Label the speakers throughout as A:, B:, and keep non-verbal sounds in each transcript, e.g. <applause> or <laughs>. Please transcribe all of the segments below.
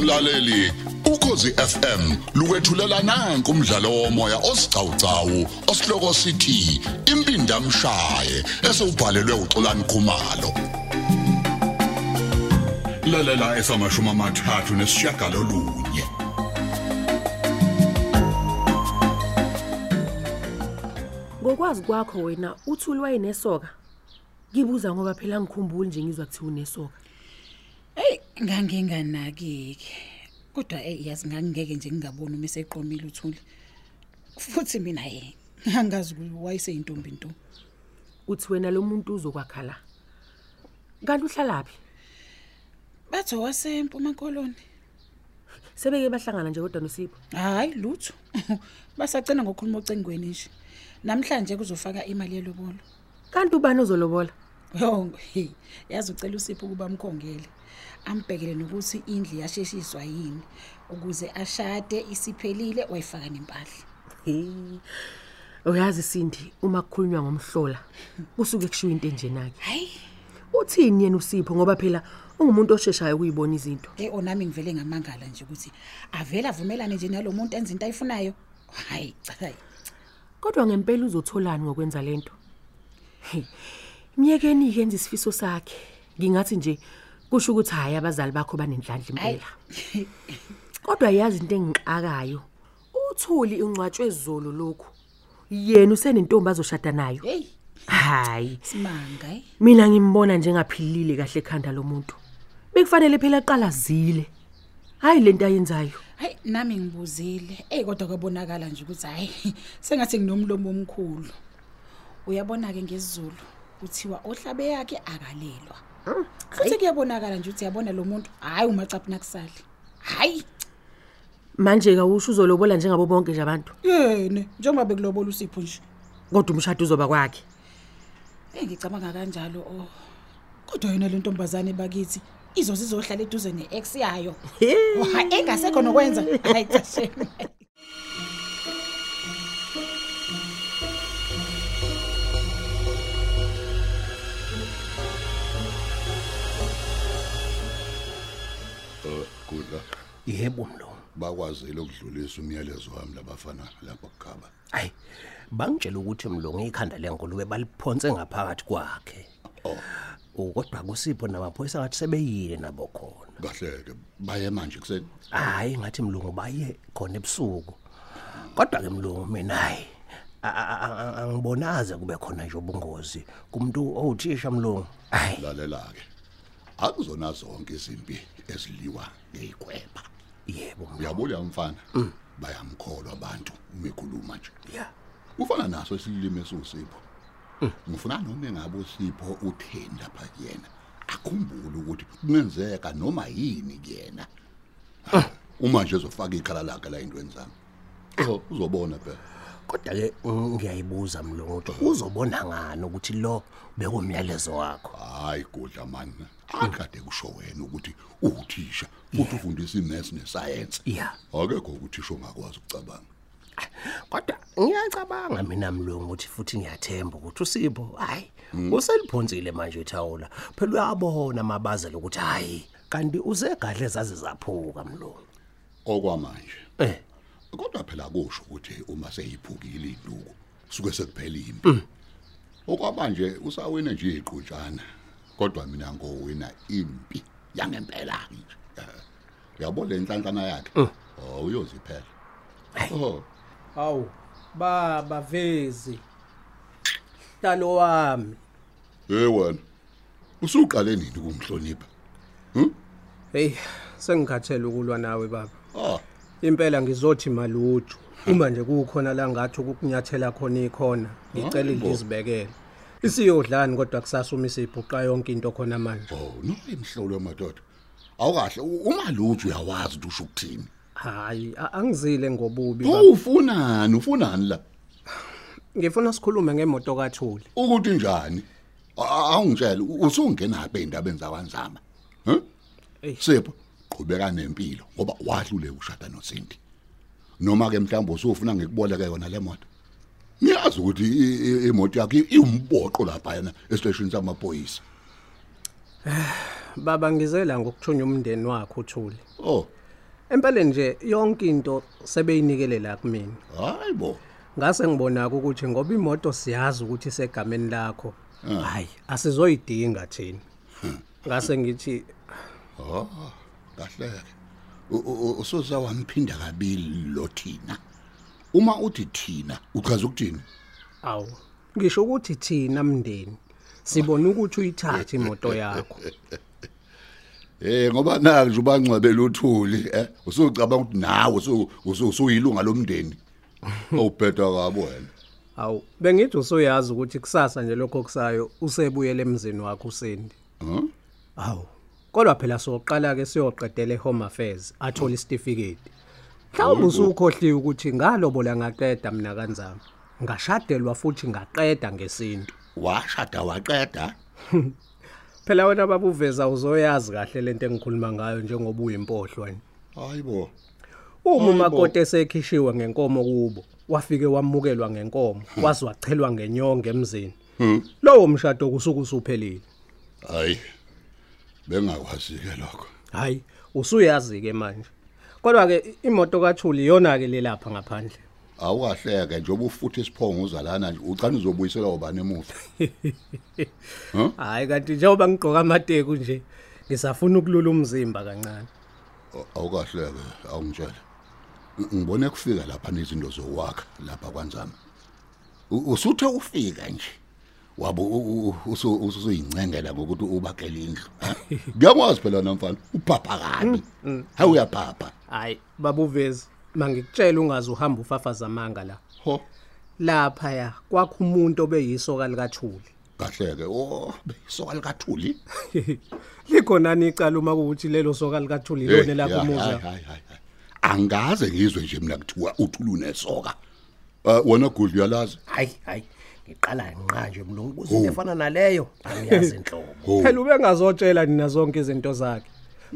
A: mlaleli ukhosi FM lukwethulela nanku umdlalo womoya osiqhawqhawo osihloko sithi impinda mshaye esubhalelwe uXolani Khumalo lalela esamashuma amathathu nesishiyagalo lunye
B: Ngokwazi kwakho wena uthulwa inesoka. Ngibuza ngoba phela ngikhumbuli nje ngizwa kuthi unesoka.
C: Hey, nganginganakike. Kodwa hey yazi ngangingeke nje ngingabona uma eseqomile uthuli. Futhi mina hey, ngangazi ukuthi wayeseyintombi into.
B: Uthi wena lo muntu uzokwakhala. Kanti uhlalaphi?
C: Batho wasempuma koloni.
B: Sebeke bahlangana nje kodwa noSipho.
C: Hayi lutho. <laughs> Basacena ngokukhuluma ocengweni nje. Namhlanje kuzofaka imali Oh, yelobolo.
B: Kanti ubani ozolobola?
C: Yo, hey, yazi ucela usipho kuba mkhongele. Ambhekele nokuthi indlu yasheshiswa yini ukuze ashade isiphelile wayifaka nempahla.
B: Hey. Uyazi Sindi uma kukhulunywa ngomhlola kusuke kushiwa into enje nake.
C: Hayi,
B: Uthini yena uSipho ngoba phela ungumuntu osheshayo ukuyibona izinto.
C: hey onami ngivele ngamangala nje ukuthi avela avumelane nje nalomuntu enza into ayifunayo. Hayi, cha. hayi.
B: Kodwa ngempela uzotholani ngokwenza lento? Hey. Myekeni ikenza isifiso sakhe. Ngingathi nje kusho ukuthi hayi abazali bakho banendlandla
C: Hayi.
B: impela. Kodwa yazi into engixakayo. Uthuli uncwatshwe izolo lokhu. Yena usenentombi azoshada nayo.
C: Hey,
B: Hayi.
C: simanga. hey.
B: Mina ngimbona njengaphilile kahle ekhanda lomuntu. Bekufanele phela aqala zile. Hayi lento ayenzayo.
C: Hayi, nami ngibuzile. Ey kodwa kwabonakala nje ukuthi hayi sengathi nginomlomo omkhulu. Uyabona ke ngesiZulu kuthiwa ohlabe yakhe akalelwa. Futhi kuyabonakala nje ukuthi yabona lo muntu hayi umacapuna kusali. Hayi.
B: Manje kawusho uzolobola njengabo bonke nje abantu.
C: Yene, njengoba bekulobola usipho nje.
B: Kodwa umshado uzoba kwakhe.
C: Eh ngicabanga kanjalo oh. Kodwa yona le ntombazane bakithi izozizohlala eduze neex yayo.
B: Hey.
C: Oh, hayi engasekho nokwenza. Hayi cha <laughs> shame.
A: kula
D: Yebo mlo.
A: bakwazile ukudlulisa umyalezo wami labafana lapha kugaba
D: Hayi. Bangitshela ukuthi mlo ngekhanda lengulube baliphonse ngaphakathi kwakhe. Oh. Kodwa kusipho namaphoyisa athi sebeyile nabo khona.
A: kahleke baye manje kuseni
D: Hayi ngathi mlungu baye khona ebusuku. Kodwa ke mlungu mina hayi a- a- a- a- angibonaze kube khona nje ubungozi kumuntu owuthisha mlungu. Hayi.
A: lalela ke akuzona zonke izimpi eziliwa ngeyikweba
D: Yebo Mm. mlungu.
A: uyabuya umfana bayamkholwa abantu umekhuluma nje
D: Yeah.
A: ufana naso isilimi esusipho
D: Mm.
A: ngifuna noma engabe usipho uthenda pha kuyena akhumbule ukuthi kungenzeka noma yini kuyena
D: Mm.
A: uma nje ezofaka ikhala lakhe la intweni zami
D: Oh.
A: Uzo- uzobona phela
D: Kodwa ke ngiyayibuza mlungu ukuthi uzobona ngani ukuthi lo bekumyalezo wakho.
A: hayi kudla mani akade kusho wena ukuthi uwuthisha futhi ufundisa i-maths ne-science
D: Yeah.
A: akekho ukuthisha ongakwazi ukucabanga
D: kodwa ngiyacabanga mina mlungu ukuthi futhi ngiyathemba ukuthi usipho hayi
A: Hmm.
D: useliphonsile manje ithawula phela uyabona amabaza lokuthi hayi kanti usegadle zaze zaphuka mlungu
A: okwamanje
D: eh
A: kodwa phela kusho ukuthi uma seyiphukile induku suke sekuphela impi okwabanje usawina nje iqhutshana kodwa mina ngowina impi yangempela ke nje Eh, uyabona le nhlanhlana yakhe oh uyoziphela oh
E: Hawu baba vezi. Dalo wami.
A: hey wena usuqale nini ukumhlonipha
E: Hey, sengikhathele ukulwa nawe baba.
A: ah
E: Impela ngizothi maluju. Uma nje kukhona la ngathi ukukunyathela khona ikhona, ngicela
A: Hayi bo.
E: ngizibekele. Isiyodlani kodwa kusasa uma isibhuqa yonke into khona manje.
A: oh no imhlolo madoda awukahle u- uma lutho uyawazi ukuthi usho ukuthini
E: Hayi, a- angizile ngobubi baba.
A: ufunani ufunani la
E: Ngifuna sikhulume ngemoto kaThuli.
A: ukuthi njani A- awungitshele u- usungenaphi endabeni zakwanzama hm
E: Eyi.
A: sipho qhubeka nempilo ngoba wahlule ukushada noSindi noma ke mhlawumbe usufuna ngikuboleke yona le moto niyazi ukuthi i- i- imoto yakhe i- iwumboqo lapha yena esiteshini samaphoyisa
E: Baba ngizela ngokuthunya umndeni wakho uThuli.
A: oh
E: Empeleni nje yonke into sebeyinikelela kumina.
A: hayi bo
E: Ngase ngibonaka ukuthi ngoba imoto siyazi ukuthi isegameni lakho.
A: Ah.
E: Hayi, asizoyidinga thina. Ngase ngithi
A: oh kahleke U- u- u- usoza wamphinda kabili lo thina uma uthi thina uchaza ukuthini
E: awu ngisho ukuthi thina mndeni sibona ukuthi uyithathe imoto yakho.
A: Eh ngoba naku nje ubangcwebela uthuli eh usucabanga ukuthi nawe usu- usu- usuyilunga lomndeni awubhedwa kabo wena
E: Awu bengithi usoyazi ukuthi kusasa nje lokho kusayo usebuyele emzini wakho usendi.
A: Mhm.
E: Awu kodwa phela soqala ke siyoqedela eHome Affairs athola isitifiketi. Mhlawumbe usukhohliwe ukuthi ngalobola ngaqeda mina kanzama. Ngashadelwa futhi ngaqeda ngesintu.
A: washada waqeda
E: Phela wena babuveza uzoyazi kahle lento engikhuluma ngayo njengoba uyimpohlwa. nje.
A: hayibo
E: Uma
A: Hayibo.
E: umakoti esekhishiwe ngenkomo kubo, wafike wamukelwa ngenkomo, wazi wachelwa ngenyonge emzini. Lowo mshado kusuku usuphelile.
A: Hmm, hayi bengakwazi ke lokho
E: Hayi, usuyazi ke manje. Kodwa ke imoto kaThuli yona ke lelapha ngaphandle.
A: awukahleke njengoba ufuthe isiphongo uzalana nje ucane uzobuyiselwa ubani emuva
E: Hayi kanti njengoba ngigqoka amateku nje, ngisafuna ukulula umzimba kancane.
A: Aw- awukahleke awungitshela Ng- ngibone kufika lapha nezinto zokwakha lapha kwanzama U- usuthe ufika nje wabo usuyingcengela ngokuthi ubakele indlu eh? ngiyakwazi phela namfana uphapha
D: Mm.
A: kabi
E: Hmm.
A: hayi uyaphapha
E: Hayi, babuvezi, mangikutshela ungaze uhamba ufafaza amanga la.
A: ho
E: Lapha ya kwakho umuntu obeyisoka likaThuli.
A: kahleke o soka likathuli
E: <laughs> Likhona nicala uma kuuthi lelo soka likaThuli
A: Hey,
E: lone lapho
A: Eh, ya, hayi,
E: umuza.
A: hayi, hayi, hayi. angaze ngizwe nje mina kuthiwa uthuli unesoka Eh, wena gudlu uyalazi
D: hayi hayi ngiqala nqa nje mlungu ukuthi into efana naleyo angiyazi inhlobo
A: ho
E: Phela ubengazotshela nina zonke izinto zakhe.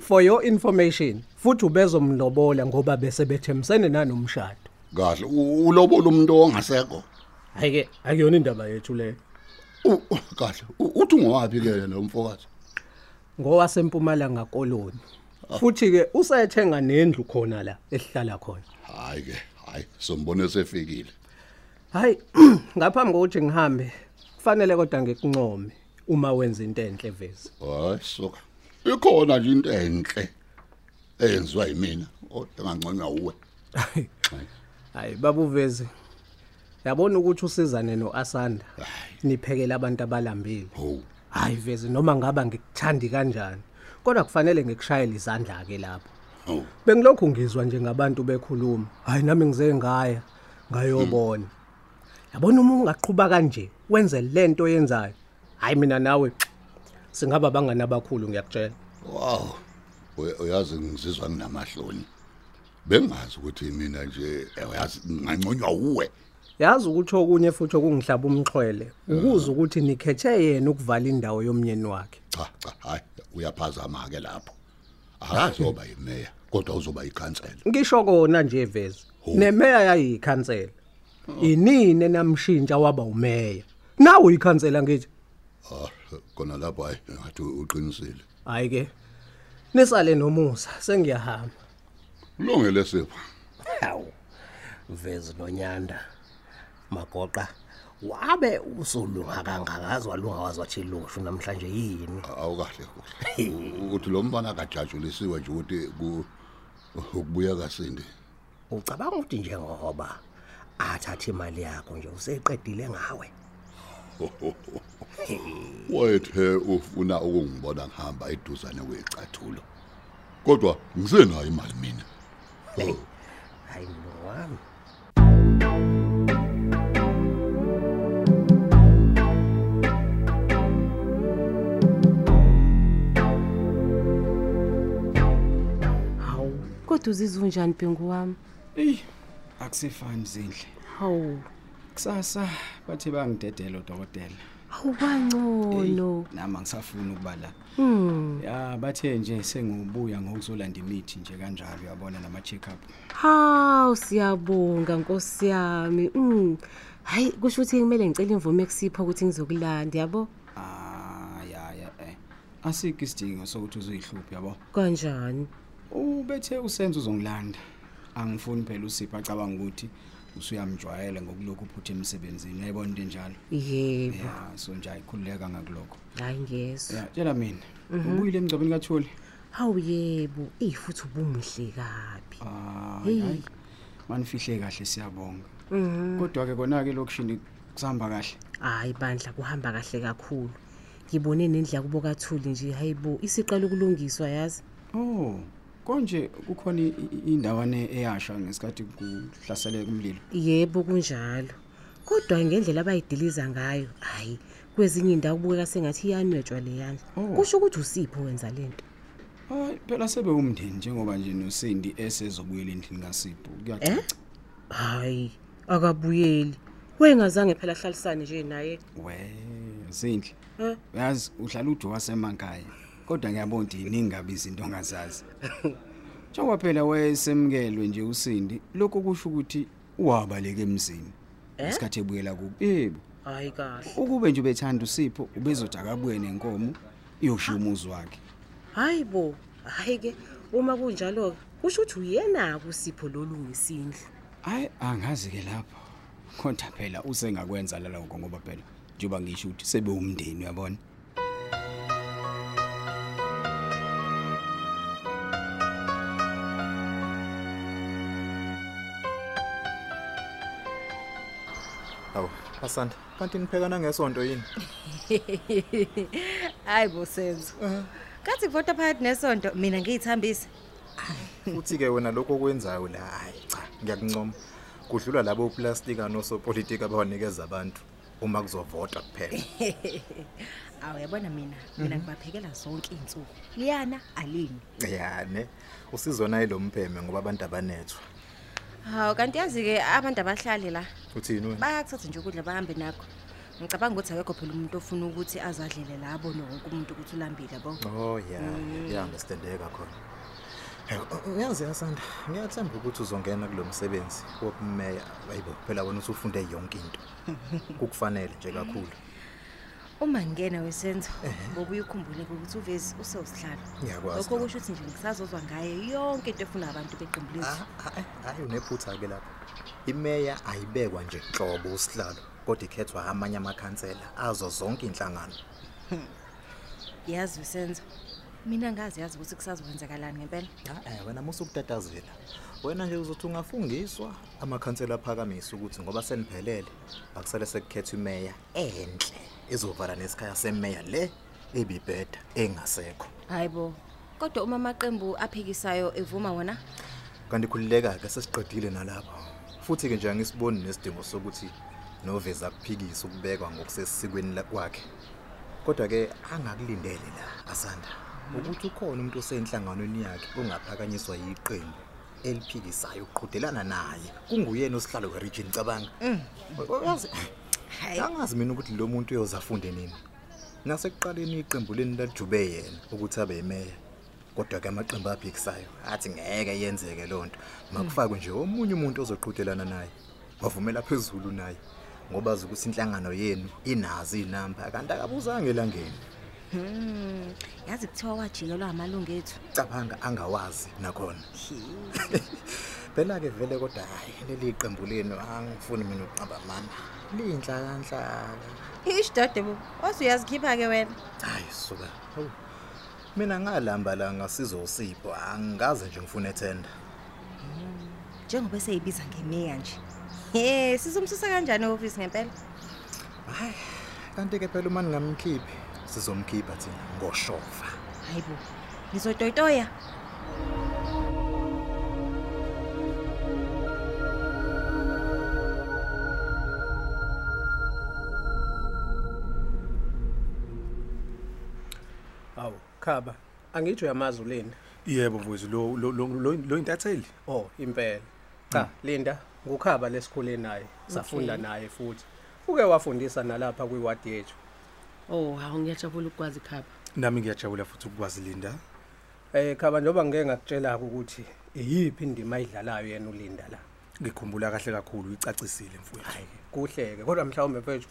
E: For your information, futhi ubezomlobola ngoba bese bethemsene nanomshado.
A: kahle u- ulobola umuntu ongasekho
E: Hayi ke akuyona indaba yethu leyo.
A: U- u- kahle U- uthi ungowapi ke lo mfokazi
E: ngowasempumalanga koloni futhi ke usethenga nendlu khona la esihlala khona
A: hayi ke hayi sombone sefikile
E: hayi <clears throat> ngaphambi kokuthi ngihambe kufanele kodwa ngikuncome uma wenza into enhle vezi
A: hayi soka ikhona nje into enhle eyenziwa yimina kodwa engangconywa uwe
E: hayi babuvezi yabona ukuthi usizane noasanda
A: Hayi.
E: niphekele abantu abalambile
A: ho
E: hayi vezi noma ngaba ngikuthandi kanjani kodwa kufanele ngikushayele izandla ke lapho
A: ho
E: Bengilokhu ngizwa nje ngabantu bekhuluma. Hayi nami ngize ngaya ngayobona.
A: Mm.
E: Yabona uma ungaqhubha kanje wenze lento oyenzayo. Hayi mina nawe singaba bangana bakhulu ngiyakutshela.
A: wow Uya- uyazi ngizizwa nginamahloni bengazi ukuthi mina nje uyazi ngangconywa uwe
E: Yazi ukuthi okunye futhi okungihlaba umxhwele ukuza ukuthi nikhethe yena ukuvala indawo yomnyeni wakhe.
A: cha cha hayi uyaphazama ke lapho akazoba yimeya kodwa uzoba ikhansela
E: Ngisho kona nje vezi. Nemeya yayikhansela. Inini namshintsha waba umeya. Nawe uyikhansela ngithi
A: ah kona lapho hayi ngathi uqinisile
E: hayi ke nisale nomusa sengiyahamba.
A: ulungele sipho
D: hawu vezi nonyanda magoqa wabe usulunga kangaka azwalunga wazwathi lusho namhlanje yini
A: awukahle kuhle U- uthi lo mfana akajajulisiwe nje ukuthi ku- ukubuya kasindi
D: ucabanga ukuthi njengoba athathe imali yakho nje useqedile ngawe
A: <laughs> wayethe ufuna ukungibona ngihamba eduzane kwecathulo kodwa ngisenayo imali mina
D: hayi mlungu wami
B: hawu kodwa uzizwa unjani bhengu wami
F: eyi akusefani zindle
B: hawu
F: kusasa bathe bangidedela udokotela
B: hawu kwangcono
F: nami angisafuni ukuba la
B: Hmm.
F: ya bathe nje sengibuya ngokuzolanda imithi nje kanjalo uyabona nama-check up
B: hawu siyabonga nkosi yami um hhayi kusho ukuthi kumele ngicele imvume ekusipho ukuthi ngizokulanda yabo
F: ah ya ya eh asikho isidingo sokuthi uzuyihluphe yabo
B: kanjani
F: ubethe usenzo uzongilanda angifuni phela usipho acabanga ukuthi usuyamjwayela ngokulokhu uphuthe emsebenzini yayibona into enjalo
B: yebo
F: ya so nje ayikhululeka ngakulokho
B: hayi ngezwa
F: ya tshela mina
B: Mhm.
F: ubuyile emngcwabeni kathuli
B: hawu yebo eyi futhi ubumuhle kabi
F: hayi
B: Hey. Mhm.
F: hayi manifihle kahle siyabonga kodwa-ke kona-ke lokishini kusihamba kahle
B: hayi bandla kuhamba kahle kakhulu ngibone nendla kubo kathuli nje hayi bo isiqala ukulungiswa yazi
F: oh konje kukhona i- i- indawane eyasha ngesikhathi kuhlaseleka umlilo
B: yebo kunjalo kodwa ngendlela abayidiliza ngayo hayi kwezinye indawo kubukeka sengathi iyanwetshwa leyana
F: Oh.
B: kusho ukuthi usipho wenza le nto
F: hayi phela sebewumndeni njengoba nje nosindi esezobuyela endlini kasipho kuyacaca
B: hhayi Eh? akabuyeli wayengazange phela ahlalisane nje naye
F: we zinhle
B: Eh.
F: uyazi uhlala udu wasemakhaya kodwa ngiyabona ukuthi yiningi kabi izinto ongazazi njengoba phela wayesemkelwe nje usindi lokhu kusho ukuthi uwabaleke emzini isikhathi ebuyela kubo yebo
B: hhayi kahle
F: ukube nje ubethanda usipho ubezothi akabuye nenkomo iyoshiya umuzi wakhe
B: hhayi bo hhayi-ke uma kunjalo-ke kusho ukuthi uyena-ke usipho lolungisa indlu
F: hayi angazi-ke lapho kodwa phela usengakwenza laloko ngoba phela njengoba ngisho ukuthi sebewumndeni uyabona
G: Awu, Asanda, kanti niphekana ngesonto yini?
H: <laughs> hayi bosenzo
G: Uh-huh.
H: kathi kuvota phakathi nesonto mina ngiyithambise
G: Futhi ke wena lokho okwenzayo la, hayi cha, ngiyakuncoma. Kudlula labo plastika nosopolitika abawanikeza abantu uma kuzovota kuphela.
H: <laughs> awu yabona mina mina
G: Mhm.
H: ngibaphekela zonke iy'nsuku liyana alini
G: Yane, usizona yilompheme ngoba abantu abanethwa.
H: hawu kanti yazi-ke abantu abahlali la
G: Uthini wena?
H: bayakuthatha nje ukudla bahambe nakho ngicabanga ukuthi akekho phela umuntu ofuna ukuthi azadlele la abone wonke umuntu ukuthi ulambile yabo Mm.
G: Oh yeah, yeah, understandeka khona. Hayi, uyazi Asanda, ngiyathemba ukuthi uzongena kulomsebenzi wobumeya. Hayibo, phela wena usufunde yonke into. Kukufanele nje kakhulu.
H: uma ngingena wesenzo bobuye ukhumbuleke ukuthi uvezi usewusihlalo
G: Ngiyakwazi
H: lokho
G: lokho.
H: kusho ukuthi nje ngisazozwa ngaye yonke into efuna abantu beqembu lethu
G: hayi hayi unephutha ke lapho imeya ayibekwa nje nhlobo usihlalo kodwa ikhethwa amanye amakhansela azo zonke inhlangano
H: yazi wesenzo mina ngazi yazi ukuthi kusazokwenzakalani ngempela
G: hayi eh, wena musukutatazela wena nje uzothi ungafungiswa amakhansela aphakamise ukuthi ngoba seniphelele akusele sekukhethwa imeya enhle ezovala nesikhaya semeya le ebibheda engasekho
H: hayi bo kodwa uma amaqembu aphikisayo evuma wona
G: kanti khululeka-ke sesiqedile nalapho futhi-ke nje angisiboni nesidingo sokuthi noveza akuphikise ukubekwa ngokusesikweni la- kwakhe kodwa-ke angakulindele la asanda ukuthi ukhona umuntu osenhlanganweni yakhe ongaphakanyiswa yiqembu eliphikisayo ukuqhudelana naye kunguyena osihlalo werijini cabanga
F: Mm.
G: uyazi angazi mina ukuthi lo muntu uyoze afunde nini nasekuqaleni iqembu leni lalijube yena ukuthi abe yimeya kodwa-ke amaqembu abhikisayo athi ngeke yenzeke loo nto makufakwe nje omunye umuntu ozoqhudelana naye wavumela phezulu naye ngoba azi ukuthi inhlangano yenu inazo iy'namba kanti akabuzange elangeni
H: Hmm, yazi kuthiwa wajikelwa amalungu ethu
G: cabanga angawazi nakhona <laughs> phela-ke vele kodwa hhayi leli qembu lenu angifuni mina ukuqamba amanga liyinhlakanhlaka
H: ishidode bo waze uyazikhipha-ke wena
G: hayi suka hawu mina ngalamba la ngasizo usipho angikaze nje ngifune ethenda
H: njengoba eseyibiza ngemeya nje ye sizomsusa kanjani e-ofisi ngempela
G: hayi kanti-ke phela uma ningamkhiphi sizomkhipha thina ngoshova
H: hayi bo ngizotoyitoya
E: Awu, khaba, angithi uyamazi uLinda.
I: yebo mvuzi lo lo- lo- lo lo intatheli
E: Oh, impela. Cha, Linda, ngukhaba lesikhule naye, safunda naye futhi. Uke wafundisa nalapha kwiward yethu.
B: oh hawu ngiyajabula ukukwazi khapha
I: nami ngiyajabula futhi ukwazi linda
E: Eh khaba njoba ngeke ngakutshela ukuthi iyiphi indima ayidlalayo yena uLinda la.
I: ngikhumbula kahle kakhulu icacisile mfowethu
E: Kuhleke kodwa mhlawumbe mfethu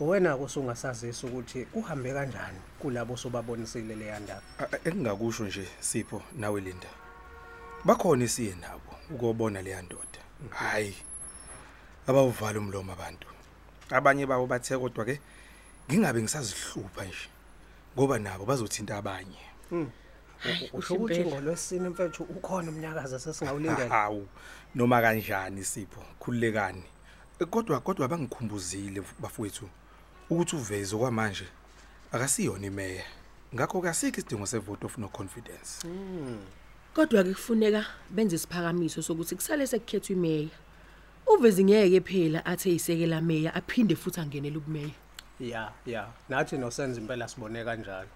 E: wena kusungasazisa ukuthi kuhambe kanjani kulabo sobabonisile leya ndaba.
I: A- a- engingakusho nje sipho nawe linda bakhona esiye nabo ukubona leya ndoda hayi abawuvala umlomo abantu abanye bawo bathe kodwa ke ngingabe ngisazihlupha nje ngoba nabo bazothinta abanye
E: usho ukuthi ngolwesine mfethu ukhona umnyakaza sesingawulindela
I: hawu noma kanjani sipho khululekani Eh, kodwa kodwa bangikhumbuzile bafowethu ukuthi uveze kwamanje akasiyona imeya ngakho kasikho isidingo sevote of no confidence
B: Kodwa-ke kufuneka benze isiphakamiso sokuthi kusale sekukhethwa imeya. Uvezi ngeke phela athe isekela meya aphinde futhi angenele ubumeya.
E: ya ya nathi nosenza impela sibone kanjalo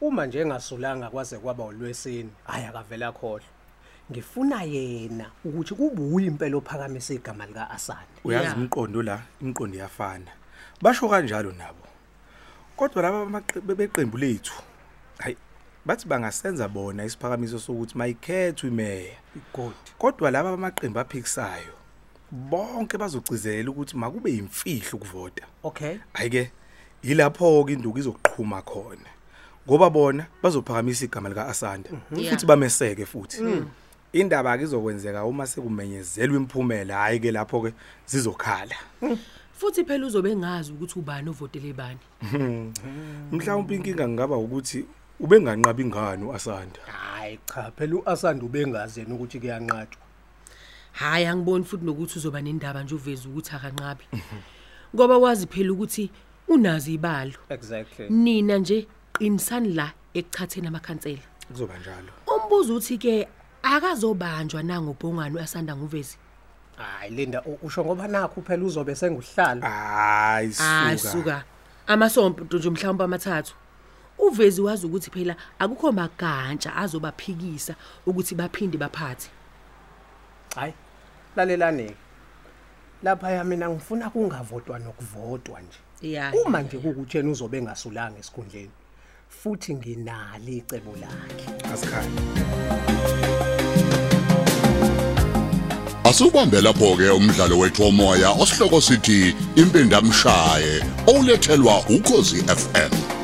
E: uma nje engasulanga kwaze kwaba ulwesini hayi akavela khohlwa ngifuna yena ukuthi kubuye impela ophakamisa igama lika-asane
I: uyazi
B: Ya.
I: umqondo la imiqondo iyafana basho kanjalo nabo kodwa laba bamaqe- be- beqembu lethu hayi bathi bangasenza bona isiphakamiso sokuthi mayikhethwe imeya
E: good
I: kodwa laba bamaqembu aphikisayo bonke bazogcizelela ukuthi makube yimfihlo ukuvota
E: okay
I: Hayike yilapho-ke induku izoqhuma khona ngoba bona bazophakamisa igama lika-asanda futhi bameseke futhi indaba-ke izokwenzeka uma sekumenyezelwa imiphumela hhayi-ke lapho-ke zizokhala
B: Futhi phela uzobe engazi ukuthi ubani ovotele bani.
I: mhlawumpe inkinga ngingaba ukuthi ubenganqabi ngani u-asanda
E: hayi cha phela u-asanda ubengazi yena ukuthi kuyanqatshwa
B: Hayi angiboni futhi nokuthi uzoba nendaba nje uvezi ukuthi akanqabi. Ngoba wazi phela ukuthi unazi ibalo.
E: exactly
B: Nina nje qinisani la ekuchatheni amakhansela.
I: kuzoba njalo
B: Umbuzo uthi ke akazobanjwa nangobhongwane asanda nguvezi.
E: hayi linda u- usho ngoba nakho phela uzobe senguhlala
I: hayi
B: Hayi
I: suka
B: Ah, suka. Amasompo nje mhlawumbe amathathu. Uvezi wazi ukuthi phela akukho magantsha azobaphikisa ukuthi baphinde baphathe.
E: hayi lalelani-ke laphaya mina ngifuna kungavotwa nokuvotwa nje
B: Yeah.
E: uma nje kukuthi yena uzobe engasulanga esikhundleni futhi nginalo icebo lakhe
I: asikhali
A: Asubambe lapho-ke umdlalo wethu womoya osihloko sithi impindamshaye owulethelwa ukhozi FM.